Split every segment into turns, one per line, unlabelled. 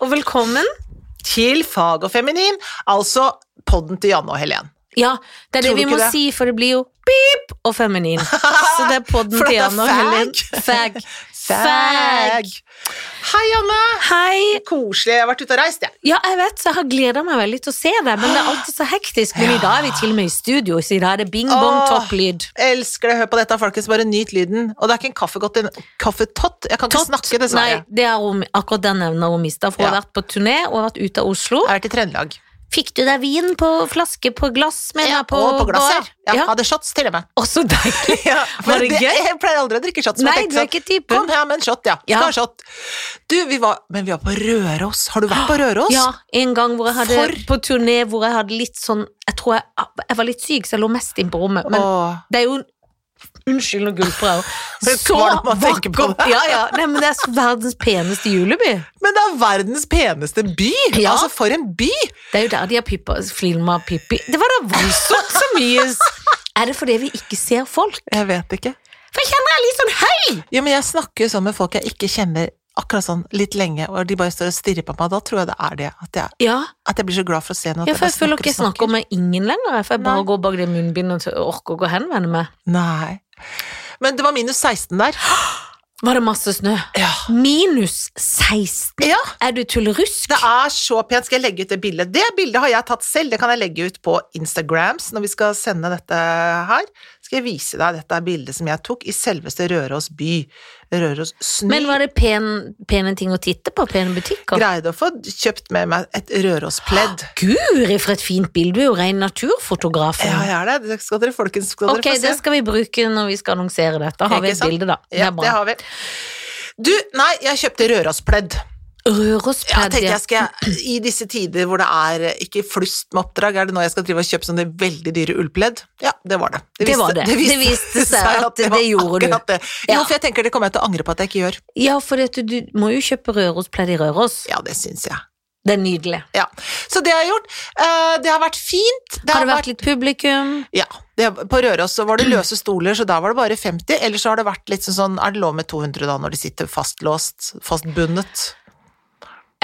og velkommen.
til Fag og Feminin, altså podden til Janne og Helen.
Ja, det er
Tror
det
du
vi
ikke
må
det?
si, for det blir jo pip og feminin. Så det er podden
For
til
at
Jan
det er
og Helen. Fag. Fag.
Hei, Janne!
Hei.
Koselig. Jeg har vært ute og reist, jeg.
Ja, jeg vet, så jeg har gleda meg veldig til å se deg, men det er alltid så hektisk. Men i dag er vi til og med i studio, så i dag er det bing bong
Åh.
topplyd.
Elsker det. Hør på dette, folkens. Bare nyt lyden. Og det er ikke en kaffegott, en kaffetott. Jeg kan ikke snakke,
Nei,
dessverre.
det er hun, akkurat den nevner hun mista, for hun har
Ja.
vært på turné og har vært ute av Oslo.
Jeg har vært i Trøndelag.
Fikk du deg vin på flaske på glass, mener jeg, på,
og på glass,
bar? Ja.
ja. Jeg hadde shots til og med.
Å, så deilig.
Ja,
Var
men
det gøy?
Jeg pleier aldri å drikke shots. men
Nei,
jeg tenkte
du er
sånn,
ikke typen.
Kom her med en shot, ja.
Ja.
Skal ha shot. Du, vi var Men vi var på Røros. Har du vært på Røros?
Ja, en gang hvor jeg hadde,
For-
på turné hvor jeg hadde litt sånn Jeg tror jeg, jeg var litt syk, så jeg lå mest inne på rommet. Men
Åh.
det er jo Unnskyld noe gullprøv.
Det er
Så
kvalm å tenke på
vakkert.
det.
Ja, ja. Nei, men det er verdens peneste juleby.
Men det er verdens peneste by!
Ja.
Altså, for en by!
Det er jo der de har pippa, filma Pippi. Det var da voldsomt så mye s- Er det fordi vi ikke ser folk?
Jeg vet ikke.
For jeg kjenner jeg er litt sånn høy!
Jo, men jeg snakker jo sånn med folk jeg ikke kjenner akkurat sånn litt lenge, og de bare står og stirrer på meg. Da tror jeg det er det. At jeg,
Ja,
at jeg blir så glad for å se noe.
ja for jeg føler ikke jeg snakker med ingen lenger. For jeg bare
Nei.
går bak det munnbindet og t- orker ikke å henvende meg.
Nei. Men det var minus 16 der.
Var det masse snø?
Ja.
Minus 16.
ja.
Er du tullerusk?
Det er så pent. Skal jeg legge ut det bildet? Det bildet har jeg tatt selv. Det kan jeg legge ut på Instagrams når vi skal sende dette her. Skal jeg vise deg dette er bildet som jeg tok i selveste Røros by. Røros snø.
Men var det pen, pene ting å titte på? Pene butikker?
Greide å få kjøpt med meg et Røros-pledd.
Guri, for et fint bilde! Du er jo ren naturfotograf.
Ja, jeg er det. Det skal dere, folkens, skal
ok,
dere få se.
det skal vi bruke når vi skal annonsere dette. Da har vi
Ikke
et
sant?
bilde, da. det
Ja, det
er bra.
har vi. Du, nei, jeg kjøpte Rørospledd. Jeg
Rørospledd.
tenkte
ja.
jeg skal, I disse tider hvor det er eh, ikke flust med oppdrag, er det nå jeg skal drive og kjøpe sånne veldig dyre ullpledd? Ja, det var det.
Det var det. Det viste seg at det gjorde du.
akkurat Det. Jo,
Ja.
for jeg tenker det kommer jeg til å angre på at jeg ikke gjør.
Ja, for du, du må jo kjøpe Rørospledd i Røros.
Ja, det syns jeg.
Det er nydelig.
Ja. Så det har jeg gjort. Eh, Det har vært fint. Det
Har det vært litt publikum?
Ja. Det, på Røros så var det løse stoler, så der var det bare 50. Eller så har det vært litt sånn sånn Er det lov med 200 da, når de sitter fastlåst? Fastbundet?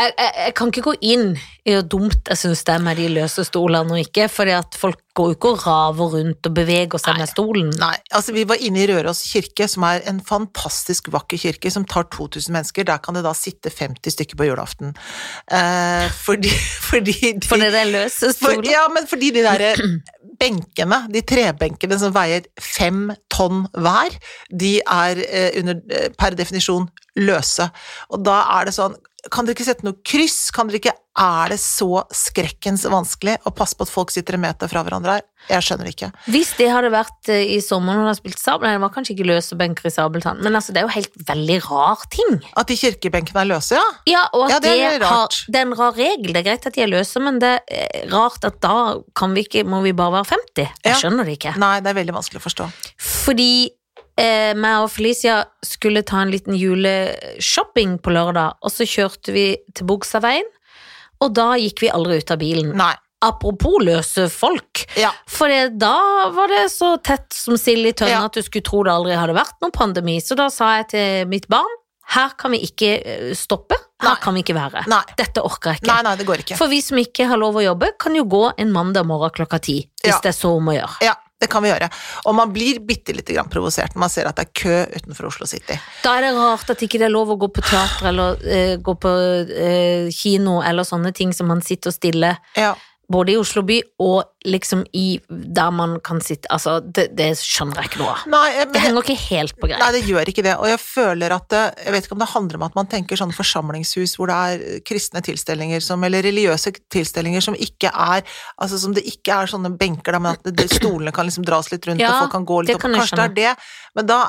Jeg, jeg, jeg kan ikke gå inn i hvor dumt jeg syns det er med de løse stolene og ikke, fordi at folk går jo ikke og raver rundt og beveger seg med stolen.
Nei, altså vi var inne i Røros kirke, som er en fantastisk vakker kirke som tar 2000 mennesker. Der kan det da sitte 50 stykker på julaften. Eh, fordi, fordi de,
Fordi det er løse
for,
stoler.
ja, men fordi de derre benkene, de trebenkene som veier fem tonn hver, de er eh, under, eh, per definisjon løse. Og da er det sånn kan dere ikke sette noe kryss? Kan dere ikke, Er det så skrekkens vanskelig å passe på at folk sitter en meter fra hverandre her? Jeg skjønner ikke.
Hvis det hadde vært eh, i sommer når de har spilt sabel, nei, det var kanskje ikke løse benker i sabeltann, men altså, det er jo helt veldig rar ting.
At de kirkebenkene er løse, ja?
Ja, og at
Ja,
det,
det er
har,
rart.
det er en rar regel. Det er greit at de er løse, men det er rart at da kan vi ikke, må vi bare være 50.
Ja.
Jeg skjønner det ikke.
Nei, det er veldig vanskelig å forstå.
Fordi eh, meg og Felicia skulle ta en liten juleshopping på lørdag, og så kjørte vi til Bogstadveien, og da gikk vi aldri ut av bilen.
Nei.
Apropos løse folk.
Ja.
For det, da var det så tett som sild i tønne
Ja.
at du skulle tro det aldri hadde vært noen pandemi. Så da sa jeg til mitt barn her kan vi ikke eh, stoppe, her
Nei.
kan vi ikke være.
Nei.
Dette orker jeg ikke.
Nei, nei, det går ikke.
For vi som ikke har lov å jobbe, kan jo gå en mandag morgen klokka ti. Hvis
Ja.
det er så om å gjøre.
Ja, det kan vi gjøre. Og man blir bitte lite grann provosert når man ser at det er kø utenfor Oslo City.
Da er det rart at ikke det er lov å gå på teater eller eh, gå på eh, kino eller sånne ting som man sitter stille
Ja.
både i Oslo by og liksom i der man kan sitte Altså, det, det skjønner jeg ikke noe av.
Nei, eh, men
Det henger ikke helt på greip.
Nei, det gjør ikke det. Og jeg føler at det, Jeg vet ikke om det handler om at man tenker sånne forsamlingshus hvor det er eh, kristne tilstelninger som Eller religiøse tilstelninger som ikke er Altså som det ikke er sånne benker, da, men at det, stolene kan liksom dras litt rundt,
Ja,
og folk kan gå litt
det
opp.
kan jeg
Kanskje det er det, men da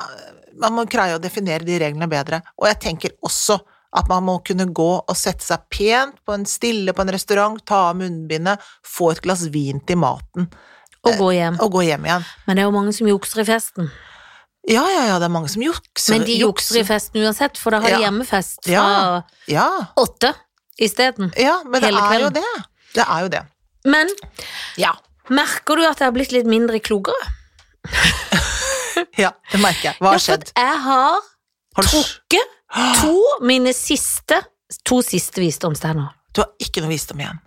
Man må greie å definere de reglene bedre. Og jeg tenker også at man må kunne gå og sette seg pent på en stille på en restaurant, ta av munnbindet, få et glass vin til maten,
Å gå hjem.
og gå hjem igjen.
Men det er jo mange som jukser i festen.
Ja, ja, ja, det er mange som jukser.
Men de jukser i festen uansett, for da har de
Ja.
hjemmefest fra
Ja. Ja.
åtte isteden.
Ja, men det
Hele
er jo
kvelden.
det. Det er jo det.
Men
Ja.
merker du at jeg har blitt litt mindre klokere?
det merker jeg.
Ja,
Hva har
for
skjedd?
at jeg har
Har du
trukket to mine siste To siste visdomstenner.
Du har ikke noe visdom igjen.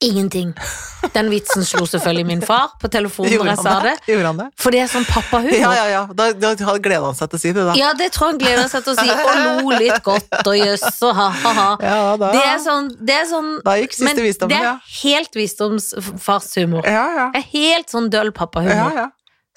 Ingenting. Den vitsen slo selvfølgelig min far på telefonen når jeg sa
han
det.
Gjorde han det?
For det er sånn pappahumor.
Ja, ja, ja. Da, da gleda han seg til å si det, da.
Ja, det tror jeg han gleder seg til å si. Og lo litt godt, og jøss, og ha-ha-ha.
Ja, da,
Det er sånn, det er sånn
da gikk
Men
siste visdommen,
det er
ja.
helt visdomsfarshumor.
Ja, ja.
Det er helt sånn døll
ja,
pappahumor.
ja.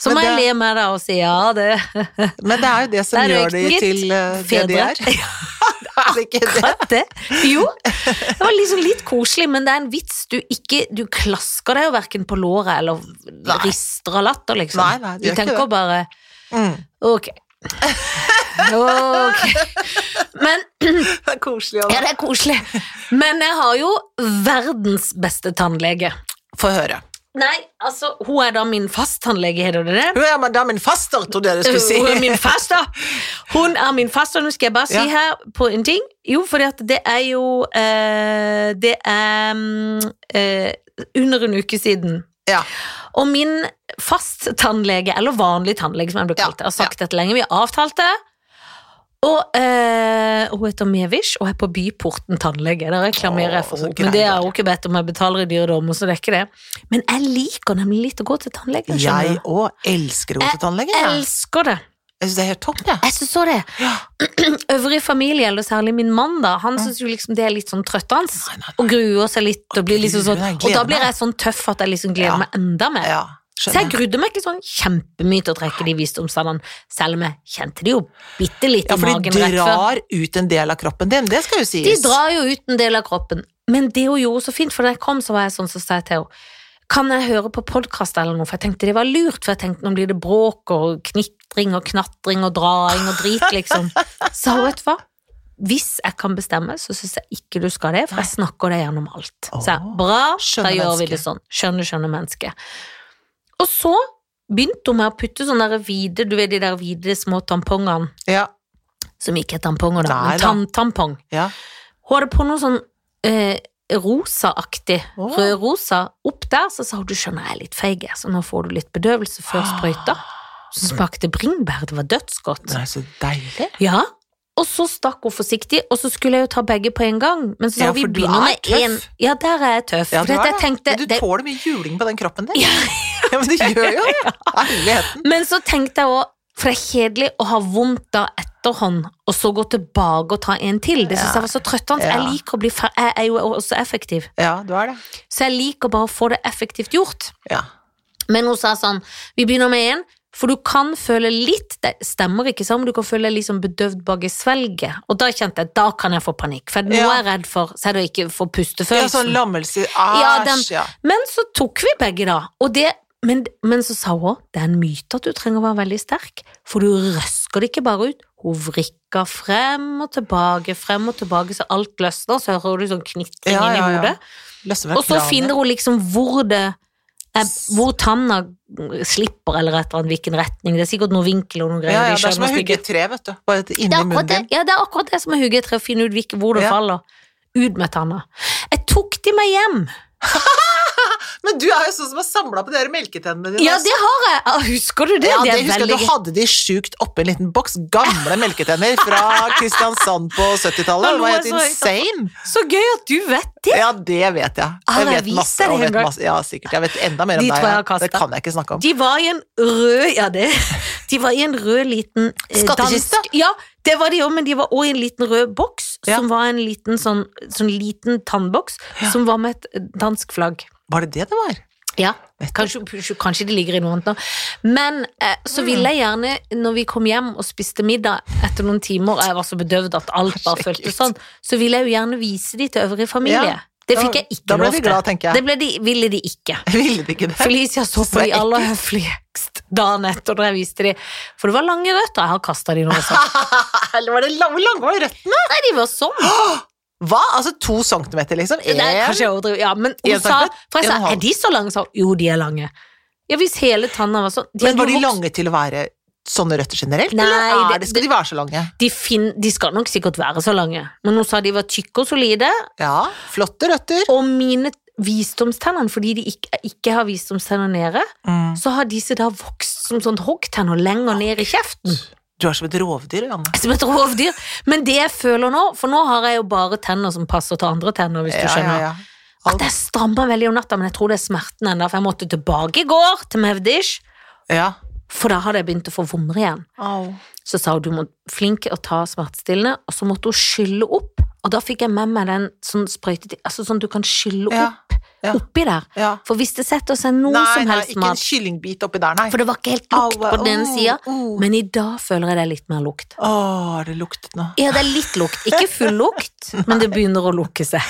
Så
Men
må jeg
det-
le med deg og si ja, det Mm.
Men det er jo det som
Der røyk
gjør de
den, gitt.
til eh, det de er.
Fedre.
Er det ikke det?
At det. Jo, det var liksom litt koselig, men det er en vits du ikke Du klasker deg jo verken på låret eller
Nei.
rister av latter, liksom.
Nei, nei, det
du
gjør ikke
tenker
det.
bare
Mm.
ok. Ok. Men
Det er koselig.
Ja,
Anna.
det er koselig. Men jeg har jo verdens beste tannlege.
Få høre.
Nei, altså, hun er da min fasttannlege, heter det det?
Hun er madame faster, trodde jeg du skulle si.
Hun er min faste. Hun er min faste, og nå skal jeg bare si
Ja.
her på en ting. Jo, fordi at det er jo eh, Det er mm, eh, under en uke siden.
Ja.
Og min fasttannlege, eller vanlig tannlege som jeg ble
Ja,
kalt, det, har sagt dette lenge. Vi har avtalt det. Og eh, hun heter Mevish og er på Byporten tannlege. Der reklamerer jeg
Åh,
for
så
henne. Men det
greier.
har hun ikke bedt om. Jeg betaler i dyre dommer, så det er ikke det. Men jeg liker nemlig litt å gå til tannlegen.
Jeg
skjønner du.
òg elsker å gå til tannlegen. Jeg,
elsker det.
jeg syns det er helt topp, jeg.
Jeg syns òg det.
Ja.
Øvrig familie, eller særlig min mann, da, han syns jo liksom det er litt sånn trøttende.
Nei, nei,
Og gruer seg litt, og blir liksom sånn
gruer meg,
Og da
gleder
blir
meg.
jeg sånn tøff at jeg liksom
Ja.
gleder meg enda mer.
Ja,
Så jeg
skjønner.
grudde meg ikke sånn kjempemye til å trekke de visdomstennene, selv om jeg kjente de jo bitte litt
Ja,
i
for de
magen rett før.
drar ut en del av kroppen din, det skal jo sies.
De drar jo ut en del av kroppen. Men det hun gjorde så fint, for da jeg kom, så var jeg sånn som sa jeg til henne Kan jeg høre på podkast eller noe, for jeg tenkte det var lurt, for jeg tenkte nå blir det bråk og knitring og knatring og draing og drit, liksom. Så hun, vet du hva? Hvis jeg kan bestemme, så syns jeg ikke du skal det, for jeg snakker deg gjennom alt. Så jeg,
Åh,
bra, da
skjønne
gjør vi
menneske.
det sånn. Skjønne, skjønne menneske. Og så begynte hun med å putte sånne der hvite, du vet de der hvite små tampongene,
Ja,
som ikke er tamponger da,
Nei
men
da.
tanntampong.
ja.
Hun hadde på noe sånn eh, rosaaktig,
Åh.
rødrosa, opp der, så sa hun du skjønner jeg er litt feig, jeg, så nå får du litt bedøvelse før sprøyta. Så smakte bringebær, det var dødsgodt.
Ah. Nei, så deilig.
Ja, og så stakk hun forsiktig, og så skulle jeg jo ta begge på en gang. Men så sa
Ja,
hun, vi
for du
begynner
er
med
tøff.
en Ja, der er jeg tøff.
Ja,
for
du
at
er
jeg
det.
tenkte,
Men du
det,
tåler mye juling på den kroppen din.
Ja.
Ja, men du gjør jo det. Herligheten.
Men så tenkte jeg òg, for det er kjedelig å ha vondt da etterhånd, og så gå tilbake og ta en til. Det synes
Ja.
jeg var så trøttende.
Ja.
Jeg liker å bli fer Jeg er jo også effektiv,
Ja, du er det.
så jeg liker bare å få det effektivt gjort.
Ja.
Men hun sa sånn, vi begynner med en, for du kan føle litt, det stemmer ikke sammen, du kan føle deg liksom bedøvd bak i svelget. Og da kjente jeg, da kan jeg få panikk, for nå
Ja.
er jeg redd for, så er det å ikke få
ja sånn
pustefølelsen.
lammelse.
Ja, den-
Æsj, ja.
men så tok vi begge da, og det, men, men så sa hun, det er en myte at du trenger å være veldig sterk, for du røsker det ikke bare ut. Hun vrikker frem og tilbake, frem og tilbake, så alt løsner, så hører du sånn knittring
Ja,
inn
ja,
i
ja.
hodet.
Løsner
Og så finner hun liksom hvor det er, Hvor tanna slipper, eller et eller annet, hvilken retning. Det er sikkert noen vinkel og noen
ja,
greier.
ja,
de
Det er som å
skjønner
hugge
sikkert.
et tre, vet du. Bare et-
det
inni
er akkurat
munnen
det,
din.
ja, det er akkurat det som er hugget i tre, å finne ut hvilke, hvor det
Ja.
faller. Ut med tanna. Jeg tok de meg hjem.
Men du er jo sånn som har samla på de der melketennene dine.
Ja, det har jeg! Ah, Husker du det?
Ja,
det
det
er
husker jeg.
veldig
Du
gøy.
hadde de sjukt oppi en liten boks. Gamle melketenner fra Kristiansand på 70-tallet.
Da
Det
lo
var
jeg
helt
så høyt.
insane.
Så gøy at du vet det!
Ja, det vet jeg.
Ah,
Jeg
nei,
vet
vis
masse.
deg det
Og
en
vet
gang.
masse. Ja, sikkert. Jeg vet enda mer
De
om
tror jeg har
deg. ja. Det
kastet.
kan jeg ikke snakke om.
De var i en rød Ja, det De var i en rød liten eh,
Skattkiste?
dansk- Ja, det var de òg, men de var òg i en liten rød boks,
Ja.
som var en liten sånn, sånn liten tannboks, som var med et dansk flagg.
Var det det det var?
Ja,
Nettopp.
kanskje, kanskje det ligger i noe annet nå. Men eh, så ville jeg gjerne, når vi kom hjem og spiste middag etter noen timer, og jeg var så bedøvd at alt bare
Herregud.
føltes sånn, så ville jeg jo gjerne vise de til øvrig familie.
Ja,
Det fikk jeg ikke
Da ble
lov
de
til.
glad, tenker
Det
jeg.
ble de, ville de ikke.
Ville de ikke det?
Felicia så på
Det er
de aller høfligst dagen etter når jeg viste de. For det var lange røtter. Jeg har kasta de nå altså. også.
Eller var det lang, hvor lange var røttene?
Nei, de var sånn.
Hva? Altså to centimeter, liksom?
Det er kanskje jeg overdriver. Ja, men hun
En
sa
centimeter?
For jeg
En og en
sa,
halv.
er de så lange? Sa hun. Jo, de er lange. Ja, hvis hele tanna var sånn. De
Men
hadde
var de
jo vokst-
lange til å være sånne røtter generelt?
Nei,
eller er
det-
det, skal de være så lange?
De, fin, de skal nok sikkert være så lange. Men hun sa de var tykke og solide.
Ja, flotte røtter.
Og mine visdomstenner, fordi de ikke, ikke har Mm. visdomstenner nede, så har disse da vokst som sånn hoggtenner lenger ned i kjeften.
Du er som et rovdyr, Janne.
Som et rovdyr. Men det jeg føler nå, for nå har jeg jo bare tenner som passer til andre tenner, hvis du skjønner.
Ja, ja,
At jeg strammer veldig om natta, men jeg tror det er smerten ennå, for jeg måtte tilbake i går til Mevdish,
ja. ja.
for da hadde jeg begynt å få vommer igjen.
Au.
Så sa hun du må flink å ta smertestillende, og så måtte hun skylle opp, og da fikk jeg med meg den sånn sprøyte, altså sånn du kan skylle
Ja,
opp
ja.
oppi der.
Ja.
For hvis det setter seg noe
Nei,
som
nei,
helst
ikke en
mat,
kyllingbit oppi der, nei.
for det var ikke helt lukt
Au,
på den ene
oh,
sida,
oh.
men i dag føler jeg det er litt mer lukt.
Å, det luktet nå.
Ja, det er litt lukt. Ikke full lukt, men det begynner å lukke seg.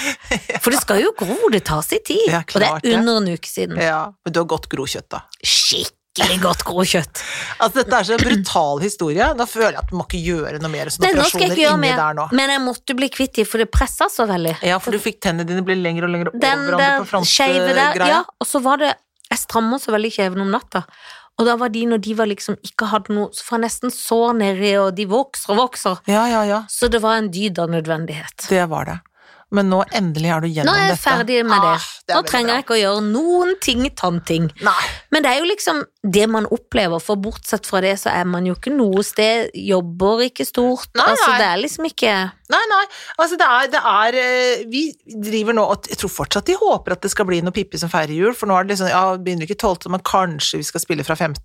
For det skal jo gro, det tar sin tid.
Det er
og det
klart det.
er under en uke siden.
Ja, Mm. men du har godt grokjøtt, da.
Skikkelig godt grokjøtt.
Altså, dette er så en brutal historie. Da føler jeg at du må ikke gjøre noe mer sånne
Nei, nå skal jeg
operasjoner
ikke gjøre
inni der nå.
mer, men jeg måtte bli kvitt dem, for det pressa så veldig.
Ja, for du fikk tennene dine bli lengre og lengre over
Den
hverandre
der
på frontgreia.
skeive der, ja, og så var det Jeg strammer så veldig kjeven om natta. Og da var de, når de var liksom ikke hadde noe, så får jeg nesten sår nedi, og de vokser og vokser.
ja, ja, ja.
Så det var en dyd av nødvendighet.
Det var det. Men nå endelig er du gjennom
Nå
dette.
er jeg ferdig med det.
Ah, det
Nå
er veldig
trenger jeg ikke å gjøre noen ting tanting.
bra. Nei.
Men det er jo liksom det man opplever, for bortsett fra det så er man jo ikke noe sted, jobber ikke stort,
Nei,
altså
nei.
det er liksom ikke
Nei, nei. Altså, det er, det er eh, Vi driver nå og Jeg tror fortsatt de håper at det skal bli noe Pippi som feirer jul, for nå er det liksom Ja, begynner ikke 12., men kanskje vi skal spille fra 15.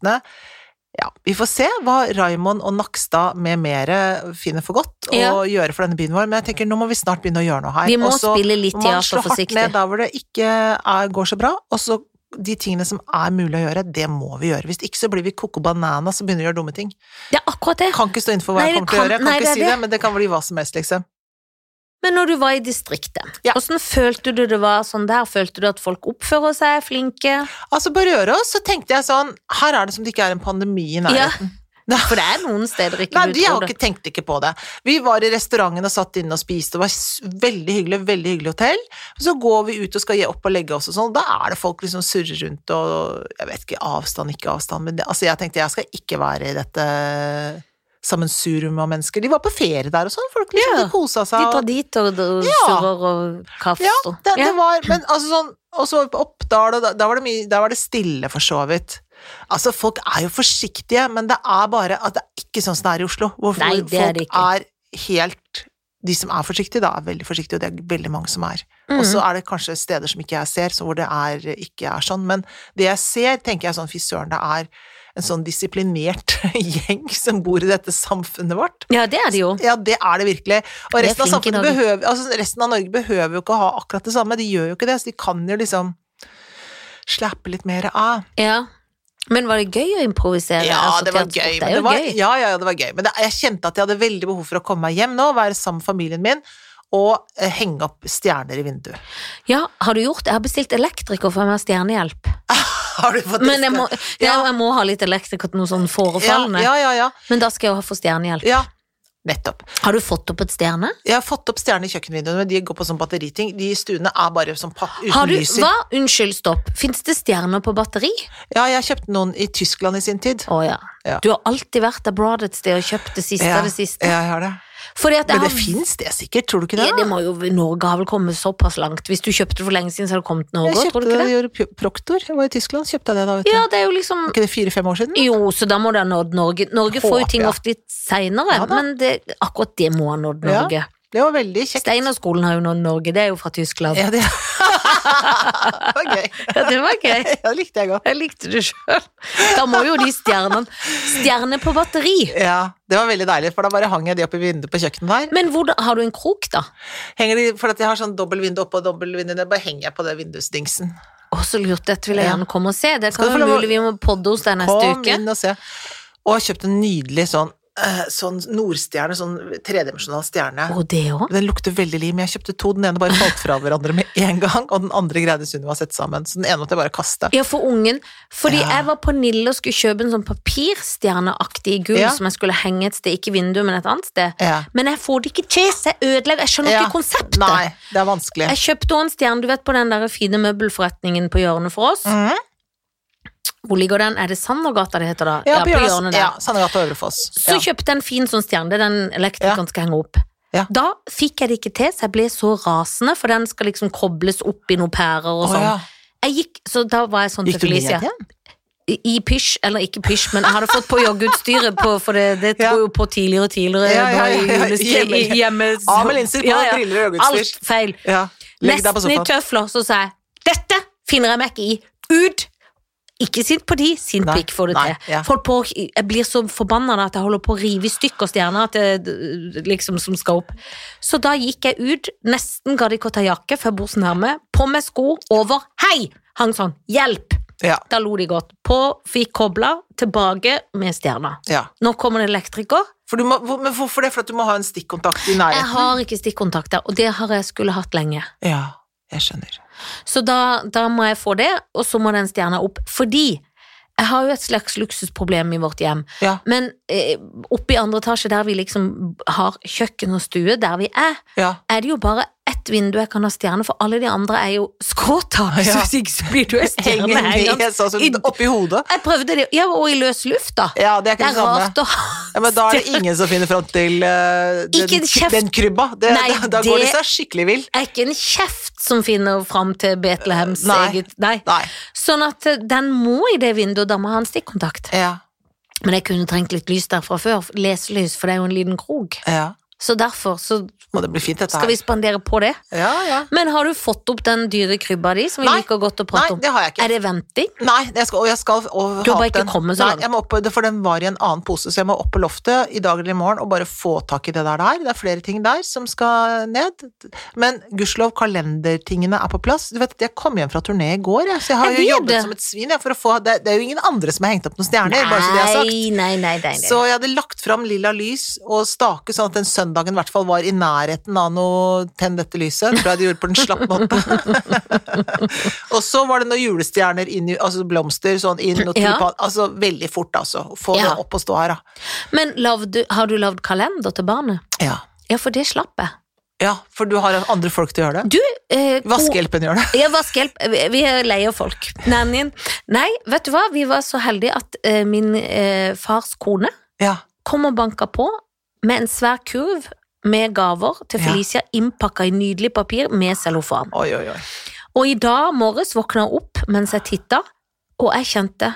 Ja, vi får se hva Raimond og Nakstad med mere finner for godt å
Ja.
gjøre for denne byen vår, men jeg tenker nå må vi snart begynne å gjøre noe her.
Vi må
Og så
spille litt
må altså, man
teater
slå hardt
forsiktig.
ned der hvor det ikke er, går så bra, og så de tingene som er mulig å gjøre, det må vi gjøre. Hvis ikke så blir vi koko banana som begynner å gjøre dumme ting.
Det er akkurat det.
Kan ikke stå innenfor hva
Nei,
jeg
vi
kommer til å
kan-
gjøre, jeg kan
nei, det
ikke
er
si det,
det.
men det kan bli hva som helst, liksom.
Men når du var i distriktet,
Ja.
hvordan følte du det var sånn der? Følte du at folk oppfører seg, er flinke?
Altså På Røros så tenkte jeg sånn Her er det som det ikke er en pandemi i
Ja.
nærheten.
For det er noen steder ikke
Nei,
du
de har
tror det.
ikke tenkt ikke på det. Vi var i restauranten og satt inne og spiste, det var s- veldig hyggelig, veldig hyggelig hotell. Så går vi ut og skal gi opp og legge oss og sånn, da er det folk liksom surrer rundt og Jeg vet ikke, avstand, ikke avstand, men det, altså jeg tenkte jeg skal ikke være i dette sammensurium av mennesker. De var på ferie der og sånn, folk liksom,
Ja,
de kosa
De
seg. og-
drar dit og, og
Ja.
surrer og kaffer.
ja, det, det var Men altså sånn Og så var vi på Oppdal, og da, da, var det mye, da var det stille, for så vidt. Altså, folk er jo forsiktige, men det er bare at det er ikke sånn som det er i Oslo. Hvor
Nei, det er
folk
det
er helt De som er forsiktige, da, er veldig forsiktige, og det er veldig mange som er.
Mhm.
Og så er det kanskje steder som ikke jeg ser, så hvor det er, ikke er sånn. Men det jeg ser, tenker jeg sånn Fy søren, det er en sånn disiplinert gjeng som bor i dette samfunnet vårt.
ja, det er de jo.
Ja, det er det virkelig.
Vi
Og
er
resten av,
flinke i
samfunnet
Norge.
behøver, altså resten av Norge behøver jo ikke å ha akkurat det samme, de gjør jo ikke det, så de kan jo liksom slappe litt mer av.
Ja. Men var det gøy å improvisere?
Ja,
Altså,
det var
teatersport,
gøy.
Det er
Men det
jo
var,
gøy.
ja, ja, ja, det var gøy. Men det, jeg kjente at jeg hadde veldig behov for å komme meg hjem nå, være sammen med familien min, og eh, henge opp stjerner i vinduet.
Ja, har du gjort det? Jeg har bestilt elektriker for meg stjernehjelp.
Har du fått
Men jeg må, ja,
Ja.
jeg må ha litt elektriker til noe sånn forefallende.
Ja, ja, ja.
Men da skal jeg jo få stjernehjelp.
ja. ja. Nettopp.
Har du fått opp et stjerne?
Jeg har fått opp stjerner i kjøkkenvinduene, men de går på sånn batteriting. De stuene er bare sånn papp uten
Har du,
lys i.
hva? Unnskyld, stopp. Fins det stjerner på batteri?
Ja, jeg kjøpte noen i Tyskland i sin tid.
Å ja.
Ja.
Du har alltid vært abroad et sted og kjøpt det siste
Ja,
av det siste.
Ja, jeg har det.
Fordi at jeg
Men det
har-
fins det sikkert, tror du ikke det?
Ja, det må jo, Norge har vel kommet såpass langt. Hvis du kjøpte det for lenge siden, så har det kommet til
jeg
Norge òg,
kjøpte
tror du ikke det?
det i Euro- Proctor, jeg var i Tyskland, kjøpte jeg det da, vet du.
Ja, det er jo liksom
Var ikke det fire-fem år siden?
Jo, så da må det ha nådd Norge. Norge får jo
Håper
ting
jeg.
ofte litt seinere,
Ja da.
men det, akkurat det må ha nådd
Ja,
Norge.
Det var veldig kjekt.
Steinerskolen har jo nådd Norge, det er jo fra Tyskland.
Ja, det... det var gøy.
Ja, det var gøy.
Ja, det likte jeg godt.
Jeg likte det sjøl. Da må jo de stjernene Stjerne på batteri.
Ja, det var veldig deilig, for da bare hang jeg de opp i vinduet på kjøkkenet der.
Men hvordan, har du en krok, da?
Henger de, for at jeg har sånn dobbelt vindu oppe og dobbelt vindu ned, bare henger jeg på det vindusdingsen.
Å, så lurt. Dette vil jeg
Ja.
gjerne komme og se. Det kan
Skal du få
være
lov å-
mulig vi må podde hos deg neste
Kom
uke.
inn og se. Og kjøpte en nydelig sånn, eh, sånn nordstjerne, sånn tredimensjonal stjerne.
Og det òg.
Den lukter veldig lim. Jeg kjøpte to. Den ene bare falt fra hverandre med en gang, og den andre greide Sunniva å sette sammen. Så den ene måtte jeg bare kaste.
Ja, for ungen. Fordi
Ja.
jeg var på Nille og skulle kjøpe en sånn papirstjerneaktig gull
Ja.
som jeg skulle henge et sted, ikke i vinduet, men et annet sted.
Ja.
Men jeg får det ikke til, så jeg ødelegger. Jeg skjønner
Ja.
ikke konseptet.
Nei, det er vanskelig.
Jeg kjøpte også en stjerne, du vet, på den der fine møbelforretningen på hjørnet for oss.
Mhm.
Hvor ligger den? Er det Sandergata det heter da?
Ja, på hjørnet.
der.
Ja, Sandegata og Øvrefoss.
Så
ja.
kjøpte jeg en fin sånn stjerne, det er den elektrikeren skal henge opp.
Ja.
Da fikk jeg det ikke til, så jeg ble så rasende, for den skal liksom kobles opp i noen pærer og
Å,
sånn.
ja.
Jeg gikk, så da var jeg sånn
Gikk
til
du ned
Felicia.
igjen?
i i pysj, eller ikke pysj, men jeg hadde fått på joggeutstyret, på, for det, det
Ja.
tror jo på tidligere og tidligere.
Ja, ja, ja, ja.
da i julestri-
Hjemme-
i- hjemme-
Av med linser, på briller og joggeutstyr.
Alt feil.
Ja. Legg deg på
Nesten i
sofaen.
tøfler, så sa jeg dette finner jeg meg ikke i. Ut! Ikke sint på de, sint
Nei,
pikk får det
nei,
til.
ja.
Folk på, jeg blir så forbanna at jeg holder på å rive i stykker stjerna at jeg, liksom, som skal opp. Så da gikk jeg ut, nesten gadd ikke å ta jakke før jeg bor så nærme, på med sko, over, hei! Hang sånn, hjelp!
Ja,
Da lo de godt. På, fikk kobla, tilbake med stjerna.
ja.
Nå kommer det elektriker.
For du må, hvor- men hvorfor det? For at du må ha en stikkontakt i
Jeg
nærheten?
har ikke stikkontakter, og det har jeg skulle hatt lenge.
Ja, jeg skjønner.
Så da, da må jeg få det, og så må den stjerna opp. Fordi jeg har jo et slags luksusproblem i vårt hjem.
Ja,
Men eh, oppe i andre etasje, der vi liksom har kjøkken og stue, der vi er,
ja.
er det jo bare ett vindu jeg kan ha stjerne, for alle de andre er jo skråtak.
Ja.
Så hvis ikke så blir du ei
Henger
stjerne
ned
hengende.
sånn som
i-
oppi hodet.
Jeg prøvde det, ja, og i løs luft, da.
Ja, det er
Det
ikke det
er rart
samme.
å ha
Ja, men da er det ingen som finner fram til eh, den,
Ikke en kjeft.
den krybba. Det,
Nei,
da, da går de
det-
seg skikkelig vill.
er ikke en kjeft som finner fram til Betlehems
Nei.
eget Nei.
Nei.
Sånn at eh, den må i det vinduet, da må jeg ha en stikkontakt.
Ja,
Men jeg kunne trengt litt lys der fra før, leselys, for det er jo en liten krok.
ja.
Så derfor så
Må det bli fint, dette
skal vi
her.
spandere på det.
Ja, ja.
Men har du fått opp den dyre krybba di, som vi
Nei.
liker godt å
Nei,
prate om?
det har jeg ikke.
Er det venting?
Nei, jeg skal, og jeg skal og
Du har
ha
bare
opp
ikke
den.
kommet så langt.
Nei, jeg må opp, det- for den var i en annen pose, så jeg må opp på loftet i dag eller i morgen og bare få tak i det der. der. Det er flere ting der som skal ned. Men gudskjelov, kalendertingene er på plass. Du vet, Jeg kom hjem fra turné i går, jeg, så jeg har
Jeg
jo
vet
jobbet
det.
som et svin. Jeg, for å få, det, det er jo ingen andre som har hengt opp noen stjerner, bare så det er sagt.
nei, nei, nei, nei.
Så jeg hadde lagt fram lilla lys og stake, sånn at den søndagen i hvert fall var i nærheten av noe tenn dette lyset. Tror jeg de gjorde på en slapp måte. og så var det noen julestjerner inn i Altså blomster sånn inn og
Ja.
tulipan Altså veldig fort, altså. Få
Ja.
det opp og stå her, da.
Men lav du, har du lagd kalender til barnet?
Ja.
Ja, for det slapp jeg.
ja, for du har andre folk til å gjøre det?
Du eh, ko-
Vaskehjelpen gjør det.
Ja, vaskehjelp. Vi- Vi er lei av folk. Nannyen. Nei, vet du hva? Vi var så heldige at eh, min eh, fars kone
Ja.
kom og banka på med en svær kurv med gaver til
Ja.
Felicia, innpakka i nydelig papir med cellofan.
Oi, oi, oi.
Og i dag morges våkna jeg opp mens jeg titta, og jeg kjente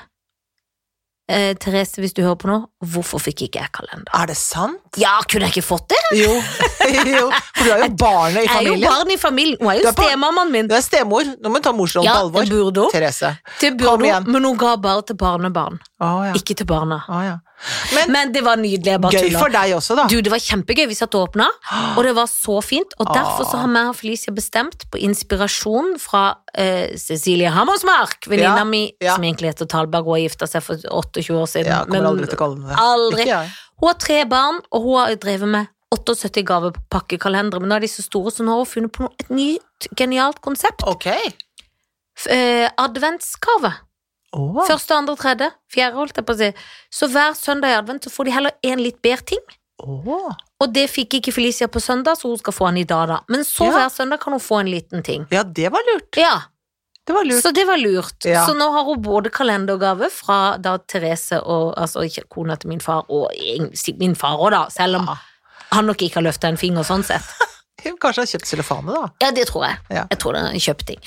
eh, Therese, hvis du hører på nå, hvorfor fikk ikke jeg kalender?
Er det sant?
Ja, kunne jeg ikke fått det?
Jo. jo. For du er jo barnet
Jeg
i
er jo
familien.
barn i familien. Hun er
Du
jo
er barn.
stemammaen min.
Du er stemor. Nå må du ta morsrollen
Ja,
på
det
alvor.
burde hun.
Therese.
Det
Kom
burde
igjen.
hun, men hun ga bare til barnebarn,
Å ja.
ikke til barna.
Å, ja. Men
Men det var nydelig. Jeg bare
gøy
tulla.
for deg også, da.
Du, det var kjempegøy. Vi satt og åpna, og det var så fint. Og derfor
Ah.
så har jeg og Felicia bestemt, på inspirasjon fra eh, Cecilie Hammersmark, venninna
Ja,
mi,
ja.
som egentlig heter Talberg og har gifta seg for 28 år siden.
Ja, kommer
men
aldri til å kalle den det.
aldri.
Ikke jeg.
Hun har tre barn, og hun har drevet med 78 gavepakkekalendere, men nå er de så store, så nå har hun funnet på noe, et nytt genialt konsept.
Ok.
F- Eh, adventsgave.
Åh.
Første, andre, tredje, fjerde, holdt jeg på å si. Så hver søndag i advent så får de heller en litt bedre ting.
Åh.
Og det fikk ikke Felicia på søndag, så hun skal få den i dag, da. Men så
Ja.
hver søndag kan hun få en liten ting.
Ja, det var lurt.
Ja,
Det var lurt.
Så det var lurt.
Ja.
Så nå har hun både kalendergave fra da Therese og altså ikke kona til min far, og egentlig min far òg, da, selv om
Ja.
han nok ikke har løfta en finger sånn sett.
Hun kanskje har kjøpt cellofane, da.
Ja, det tror jeg.
Ja.
Jeg tror det er en kjøpt ting.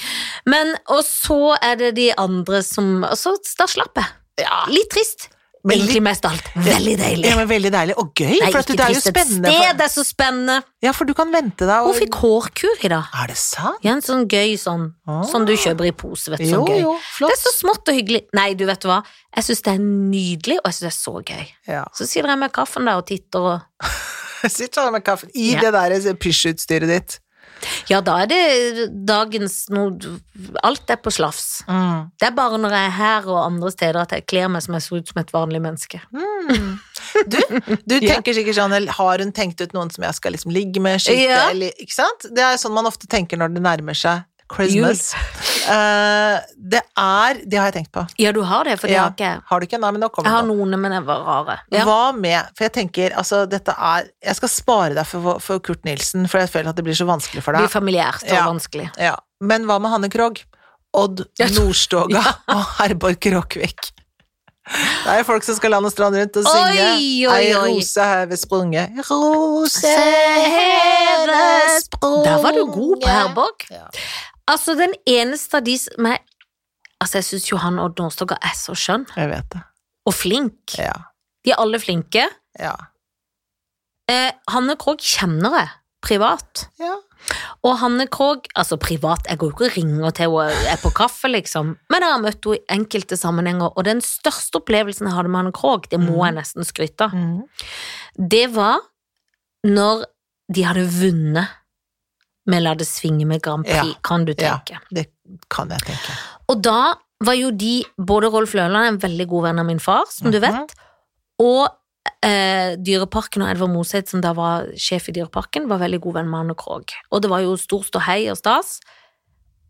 Men, og så er det de andre som og Så da slapp jeg. Litt trist.
Men litt-
Egentlig mest av alt. Veldig deilig.
Ja, men Veldig deilig og gøy,
Nei,
for at
ikke
det er jo
trist. Et
spennende.
sted
For,
er så spennende.
ja, for du kan vente deg
Hun
og
fikk hårkur i dag.
Er det sant?
Ja, en sånn gøy sånn,
Ah.
som du kjøper i pose, vet du,
Jo,
sånn gøy.
jo,
Det er
flott.
så smått og hyggelig. Nei, du vet hva, jeg synes det er nydelig, og jeg synes det er så gøy.
Ja.
Så sitter jeg med kaffen der og titter, og
Sitt sånn med kaffen i
Ja.
det der eh, pysjutstyret ditt.
ja, da er det dagens noe, alt er på slafs. Det er bare når jeg er her og andre steder at jeg kler meg som jeg ser ut som et vanlig menneske.
Mm. Du, du
Ja.
tenker sikkert sånn eller Har hun tenkt ut noen som jeg skal liksom ligge med, skyte,
Ja.
eller Ikke sant? Det er sånn man ofte tenker når det nærmer seg Christmas. Eh, det er Det har jeg tenkt på.
Ja, du har det, for det
Ja.
har ikke jeg.
Har du ikke? Nei, men nå
Jeg
kommer det
har
opp.
noen, men jeg var rare. Ja.
Hva med For jeg tenker, altså, dette er Jeg skal spare deg for, for Kurt Nilsen, for jeg føler at det blir så vanskelig for
Blir
deg.
familiært og
Ja.
vanskelig.
Ja. Men hva med Hanne Krogh? Odd
Ja.
Nordstoga og Herborg Kråkvik. Det er jo folk som skal land og strand rundt og synge
Oi, oi,
Ei
oi.
rose heve sprunget Rose heve
heves
sprunget
Der var du god på Herborg.
Ja.
Altså, den eneste av de som jeg Altså, jeg syns Johan Odd Nordstoga er så skjønn.
Jeg vet det.
Og flink.
Ja.
De er alle flinke.
Ja.
Eh, Hanne Krogh kjenner jeg privat.
ja.
Og Hanne Krogh Altså, privat Jeg går jo ikke og ringer til henne og er på kaffe, liksom. Men jeg har møtt henne i enkelte sammenhenger, og den største opplevelsen jeg hadde med Hanne Krogh, det må jeg nesten skryte av,
Mm.
det var når de hadde vunnet med La det svinge med Grand Prix,
Ja.
kan du
Ja.
tenke.
Det kan jeg tenke.
Og da var jo de, både Rolf Løland, en veldig god venn av min far, som du
Mhm.
vet, og eh, Dyreparken og Edvard Moseth, som da var sjef i Dyreparken, var veldig god venn med Anne Krogh. Og det var jo stor ståhei og stas,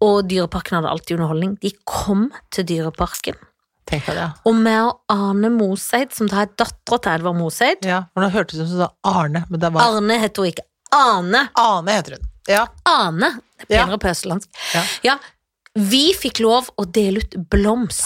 og Dyreparken hadde alltid underholdning. De kom til Dyreparken,
Tenk deg det.
og med og Arne Moseth, som da er dattera til Edvard Moseth
Ja, for nå hørtes det ut som du sa Arne, men det var
Arne heter hun ikke. Ane.
Ane heter hun. Ja.
Ane. Det er
Ja.
penere på østlandsk.
Ja.
ja. Vi fikk lov å dele ut blomst.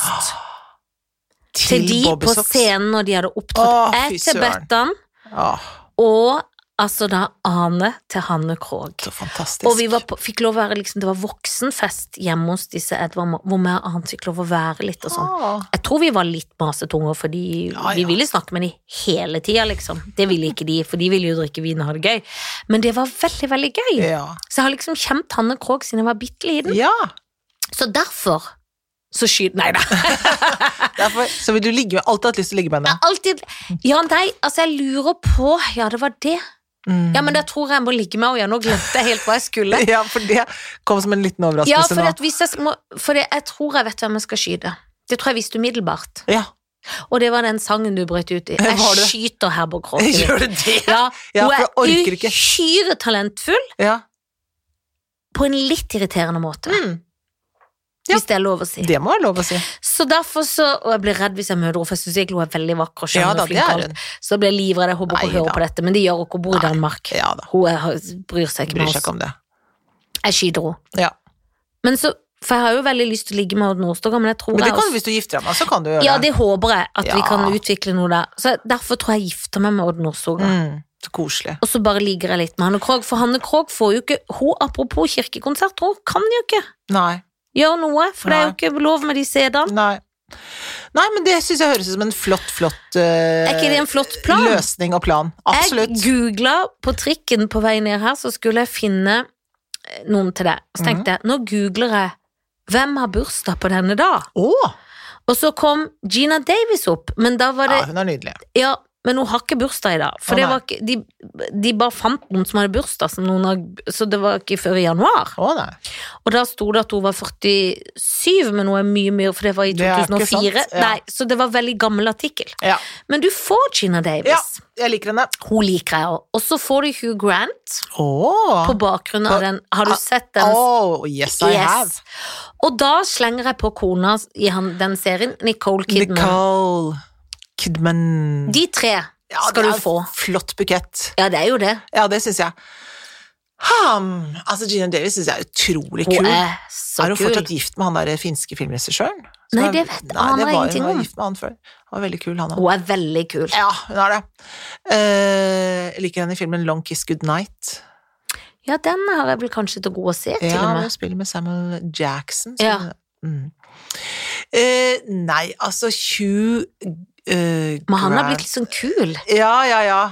til de på
Bobbysocks.
scenen når de hadde opptrådt.
Åh,
Jeg
fy
til
søren.
Bettan,
Åh,
og altså da Ane til Hanne Krogh.
så fantastisk.
Og vi var på, fikk lov å være liksom, det var voksenfest hjemme hos disse Edvard, Ma- hvor vi og Ane fikk lov å være litt og sånn.
Åh,
Jeg tror vi var litt masetunger, fordi
Ja,
vi
ja.
ville snakke med de hele tida, liksom. Det ville ikke de, for de ville jo drikke vin og ha det gøy. Men det var veldig, veldig gøy.
Ja.
Så jeg har liksom kjent Hanne Krogh siden jeg var bitte liten.
ja.
Så derfor så skyter Nei da.
Derfor, så vil du ligge med Alltid hatt lyst til å ligge med
Jeg
henne.
har alltid Ja, nei, altså jeg lurer på Ja, det var det.
Mm.
Ja, men da tror jeg jeg må ligge med henne. Ja, nå glemte jeg helt hva jeg skulle.
Ja, for det kom som en liten
Ja,
overraskelse
for,
nå.
at hvis jeg, må, for det, jeg tror jeg vet hvem jeg skal skyte. Det tror jeg visste umiddelbart.
Ja,
Og det var den sangen du brøt ut i.
Var
Jeg
det?
skyter Herborg Krogh.
gjør du det?
Ja,
Ja,
hun
for jeg orker
er
ikke.
uhyre talentfull
Ja.
på en litt irriterende måte,
Mm. ja.
hvis det er lov å si.
Det må være lov å si.
Så derfor så, Og jeg blir redd hvis jeg møter henne, for jeg syns egentlig hun er veldig vakker og skjønn
Ja da,
og flink.
det er
og alt. Så da blir jeg livredd. Jeg håper hun
Nei
hører
da.
på dette, men det gjør hun ikke. Hun bor i
Nei.
Danmark.
Ja da.
Hun er, bryr seg ikke
Bryr
med
seg
oss.
ikke om det.
Jeg skyter henne.
Ja.
Men så, for jeg har jo veldig lyst til å ligge med Odd Nordstoga, men jeg tror
Men det
jeg
kan,
også-
hvis du gifter deg med henne, så kan du gjøre
Ja, det håper jeg, at vi
Ja.
kan utvikle noe der. Så derfor tror jeg jeg gifter meg med Odd Nordstoga.
Mm. Så koselig.
Og så bare ligger jeg litt med Hanne Krogh, for Hanne Krogh får jo ikke Hun, apropos kirkekonsert, hun kan jo ikke
Nei.
gjøre noe, for det er jo ikke lov med de CD-ene.
Nei. Nei, men det syns jeg høres ut som en flott, flott eh,
Er ikke det en flott plan?
løsning og plan. Absolutt.
Jeg googla på trikken på vei ned her, så skulle jeg finne eh, noen til det. Så
Mhm.
tenkte jeg, nå googler jeg 'Hvem har bursdag på denne dag?'
Å!
Og så kom Gina Davis opp, men da var det
Ja, hun er nydelig.
Ja, men hun har ikke bursdag i dag. For
Å,
det
nei.
var ikke, de, de bare fant noen som hadde bursdag, som noen har, så det var ikke før i januar.
Å, nei.
Og da sto det at hun var 47, men hun er mye mye, for det var i
Det er ikke
2004.
sant, ja.
Nei, så det var veldig gammel artikkel.
Ja.
Men du får Gina Davis.
Ja. Jeg liker henne.
Hun liker jeg òg. Og så får du Hugh Grant
Åh
på bakgrunn av
På-
den. Har du sett den?
Oh, yes, I have.
Yes. Og da slenger jeg på kona i han, den serien, Nicole Kidman.
Nicole Kidman.
De tre
Ja, det
skal
er
du få.
Flott bukett.
Ja, det er jo det.
Ja, det syns jeg. Hmm, altså Gina Davis syns jeg er utrolig
Hun
kul. Er,
er så
hun
kul.
fortsatt gift med han der eh, finske filmregissøren? Som
Nei,
er-
det vet-
Nei,
aner
det
jeg
var,
ingenting
Hun
om.
var gift med han før. Han var veldig kul, han òg.
Hun er veldig kul.
Ja, hun er det. Eh, jeg liker henne i filmen Long Kiss Good Night.
Ja, den har jeg vel kanskje til gode å se, til
Ja,
og
hun
med.
spiller med Samuel Jackson. så-
Ja.
Mm. Eh, nei, altså Hugh eh,
Men han har
Grant-
blitt litt sånn kul.
Ja, ja, ja.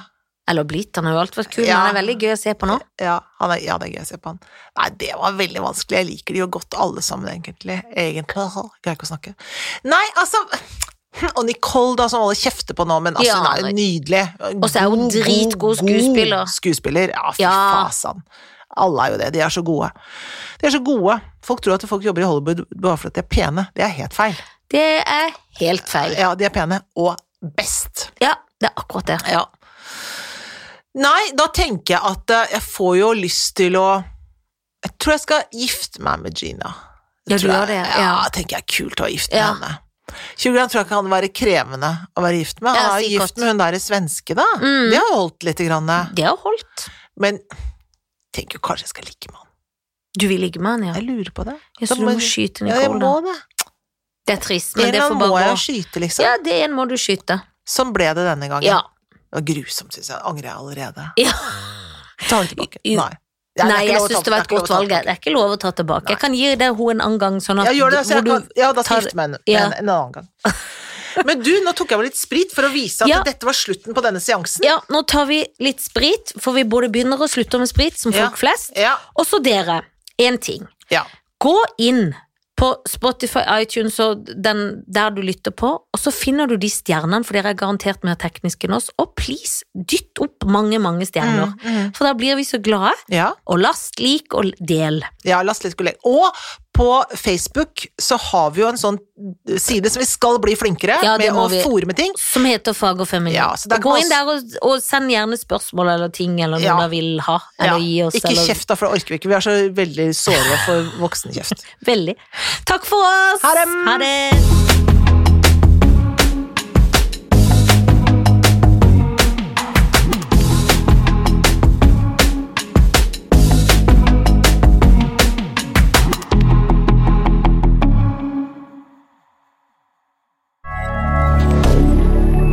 Eller blitt, han har jo alltid vært kul,
Ja.
men han er veldig gøy å se på nå.
Ja, han er, ja, det er gøy å se på han. Nei, det var veldig vanskelig. Jeg liker de jo godt alle sammen, egentlig. Egentlig. Haha, Greier ikke å snakke. Nei, altså Og Nicole, da, som alle kjefter på nå, men altså,
Ja,
hun er jo nydelig.
Og så er hun
God, god,
dritgod skuespiller.
God skuespiller. Ja, fy
Ja.
fasan. Alle er jo det. De er så gode. De er så gode. Folk tror at folk jobber i Hollywood bare fordi de er pene. Det er helt feil.
Det er helt feil.
Ja, de er pene. Og best.
Ja, det er akkurat det.
Ja. Nei, da tenker jeg at eh, jeg får jo lyst til å Jeg tror jeg skal gifte meg med Gina.
Ja, du
Tror
gjør
jeg-
det,
Ja,
ja.
jeg tenker jeg er kult å være gift med
Ja.
henne. Hugh Grant tror jeg kan være krevende å være gift med. Han
Ja,
er jo
sikkert.
gift med hun der svenske, da.
Mm.
Det har holdt lite grann.
Det har holdt.
Men jeg tenker jo kanskje jeg skal ligge med han.
Du vil ligge med han, ja.
Jeg lurer på det.
Ja, så
Da
du
må
må
jeg-
skyte
Ja, jeg
Nicole. da.
må det.
Det er trist,
En
men det
eller
får
annen må
bare
jeg
gå.
skyte, liksom.
Ja, det er en må du skyte.
Sånn ble det denne gangen.
Ja.
Det var grusomt, syns jeg. Angrer jeg allerede.
Ja.
Ta det tilbake.
Jo.
Nei. Ja, det er
Nei,
ikke
jeg
lov å ta-
syns det
er
var et
ikke lov
godt
å ta
valg. Det er ikke lov å ta tilbake. Jeg kan gi deg henne en annen gang, sånn at
Ja, gjør det, så
hvor
jeg kan,
du
ja da skal jeg
tar-
gifte meg en,
Ja.
en, en annen gang. Men du, nå tok jeg meg litt sprit for å vise at
Ja.
dette var slutten på denne seansen.
Ja, nå tar vi litt sprit, for vi både begynner og slutter med sprit, som
Ja.
folk flest.
Ja.
Og så dere, én ting.
ja.
Gå inn på Spotify, iTunes og den der du lytter på, og så finner du de stjernene, for dere er garantert mer tekniske enn oss. Og please, dytt opp mange, mange stjerner.
Mm, mm.
For da blir vi så glade.
ja.
Og last, lik og del.
Ja, la oss litt gå lenger. Og på Facebook så har vi jo en sånn side som vi skal bli flinkere
Ja, det
med
må
å
vi.
fòre med ting.
Som heter Fag og feminin.
Ja, så der
gå
kan man
inn der og, og send gjerne spørsmål eller ting eller noe
Ja.
dere vil ha. Eller gi oss,
Ikke
eller
kjeft, da, for det orker vi ikke. Vi er så veldig såre for voksenkjeft.
Veldig. Takk for oss!
Ha dem!
Ha det!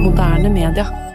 Moderne media.